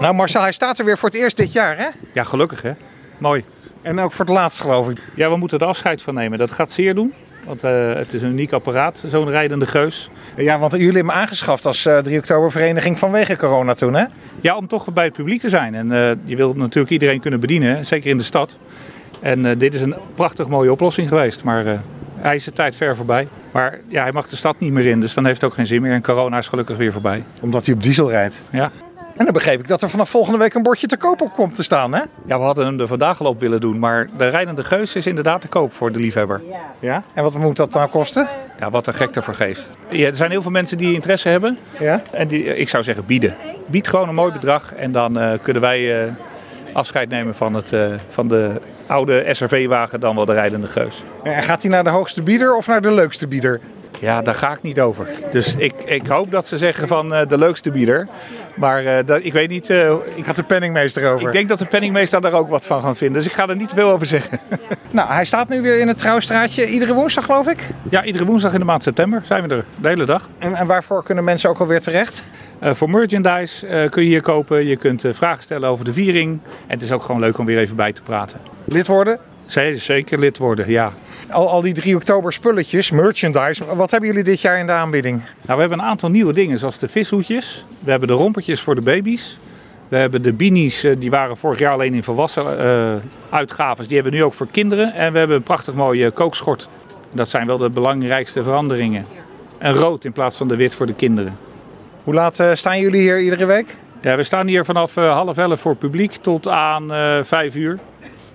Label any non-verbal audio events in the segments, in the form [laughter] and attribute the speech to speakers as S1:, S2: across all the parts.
S1: Nou Marcel, hij staat er weer voor het eerst dit jaar, hè?
S2: Ja, gelukkig hè. Mooi.
S1: En ook voor het laatst, geloof ik.
S2: Ja, we moeten er afscheid van nemen. Dat gaat zeer doen. Want eh, het is een uniek apparaat, zo'n rijdende geus.
S1: Ja, want jullie hebben hem aangeschaft als eh 3 oktober vereniging vanwege corona toen, hè?
S2: Ja, om toch bij het publiek te zijn. En eh, je wilt natuurlijk iedereen kunnen bedienen, zeker in de stad. En eh, dit is een prachtig mooie oplossing geweest. Maar eh, hij is de tijd ver voorbij. Maar ja, hij mag de stad niet meer in, dus dan heeft het ook geen zin meer. En corona is gelukkig weer voorbij.
S1: Omdat hij op diesel rijdt.
S2: Ja.
S1: En dan begreep ik dat er vanaf volgende week een bordje te koop op komt te staan, hè?
S2: ja, we hadden hem er vandaag al op willen doen. Maar de rijdende geus is inderdaad te koop voor de liefhebber.
S1: Ja. En wat moet dat nou kosten?
S2: Ja, wat een gek ervoor geeft. Ja, er zijn heel veel mensen die interesse hebben.
S1: Ja.
S2: En die, eh, ik zou zeggen bieden. Bied gewoon een mooi bedrag en dan eh, kunnen wij eh, afscheid nemen van, het, eh, van de oude SRV-wagen dan wel de rijdende geus.
S1: En gaat hij naar de hoogste bieder of naar de leukste bieder?
S2: Ja, daar ga ik niet over. Dus ik, ik hoop dat ze zeggen van eh, de leukste bieder. Maar eh, dat, ik weet niet, eh, ik,
S1: Gaat de penningmeester over?
S2: ik denk dat de penningmeester daar ook wat van gaan vinden. Dus ik ga er niet veel over zeggen. [laughs]
S1: Nou, hij staat nu weer in het trouwstraatje iedere woensdag, geloof ik.
S2: Ja, iedere woensdag in de maand september zijn we er de hele dag.
S1: En, en waarvoor kunnen mensen ook alweer terecht?
S2: Eh, voor merchandise eh, kun je hier kopen. Je kunt eh, vragen stellen over de viering. En het is ook gewoon leuk om weer even bij te praten.
S1: Lid worden?
S2: Zij zeker lid worden, ja.
S1: Al, al die 3 oktober spulletjes, merchandise. Wat hebben jullie dit jaar in de aanbieding?
S2: Nou, we hebben een aantal nieuwe dingen, zoals de vishoedjes. We hebben de rompertjes voor de baby's. We hebben de beanies, eh, die waren vorig jaar alleen in volwassen eh, uitgaves. Die hebben we nu ook voor kinderen. En we hebben een prachtig mooie kookschort. Dat zijn wel de belangrijkste veranderingen. En rood in plaats van de wit voor de kinderen.
S1: Hoe laat eh, staan jullie hier iedere week?
S2: Ja, we staan hier vanaf eh, half elf voor publiek tot aan eh vijf uur.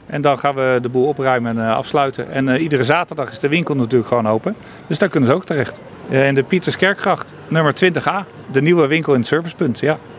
S2: En dan gaan we de boel opruimen en eh, afsluiten. En eh, iedere zaterdag is de winkel natuurlijk gewoon open. Dus daar kunnen ze ook terecht. Eh, in de Pieterskerkgracht, nummer 20a. De nieuwe winkel in het servicepunt, ja.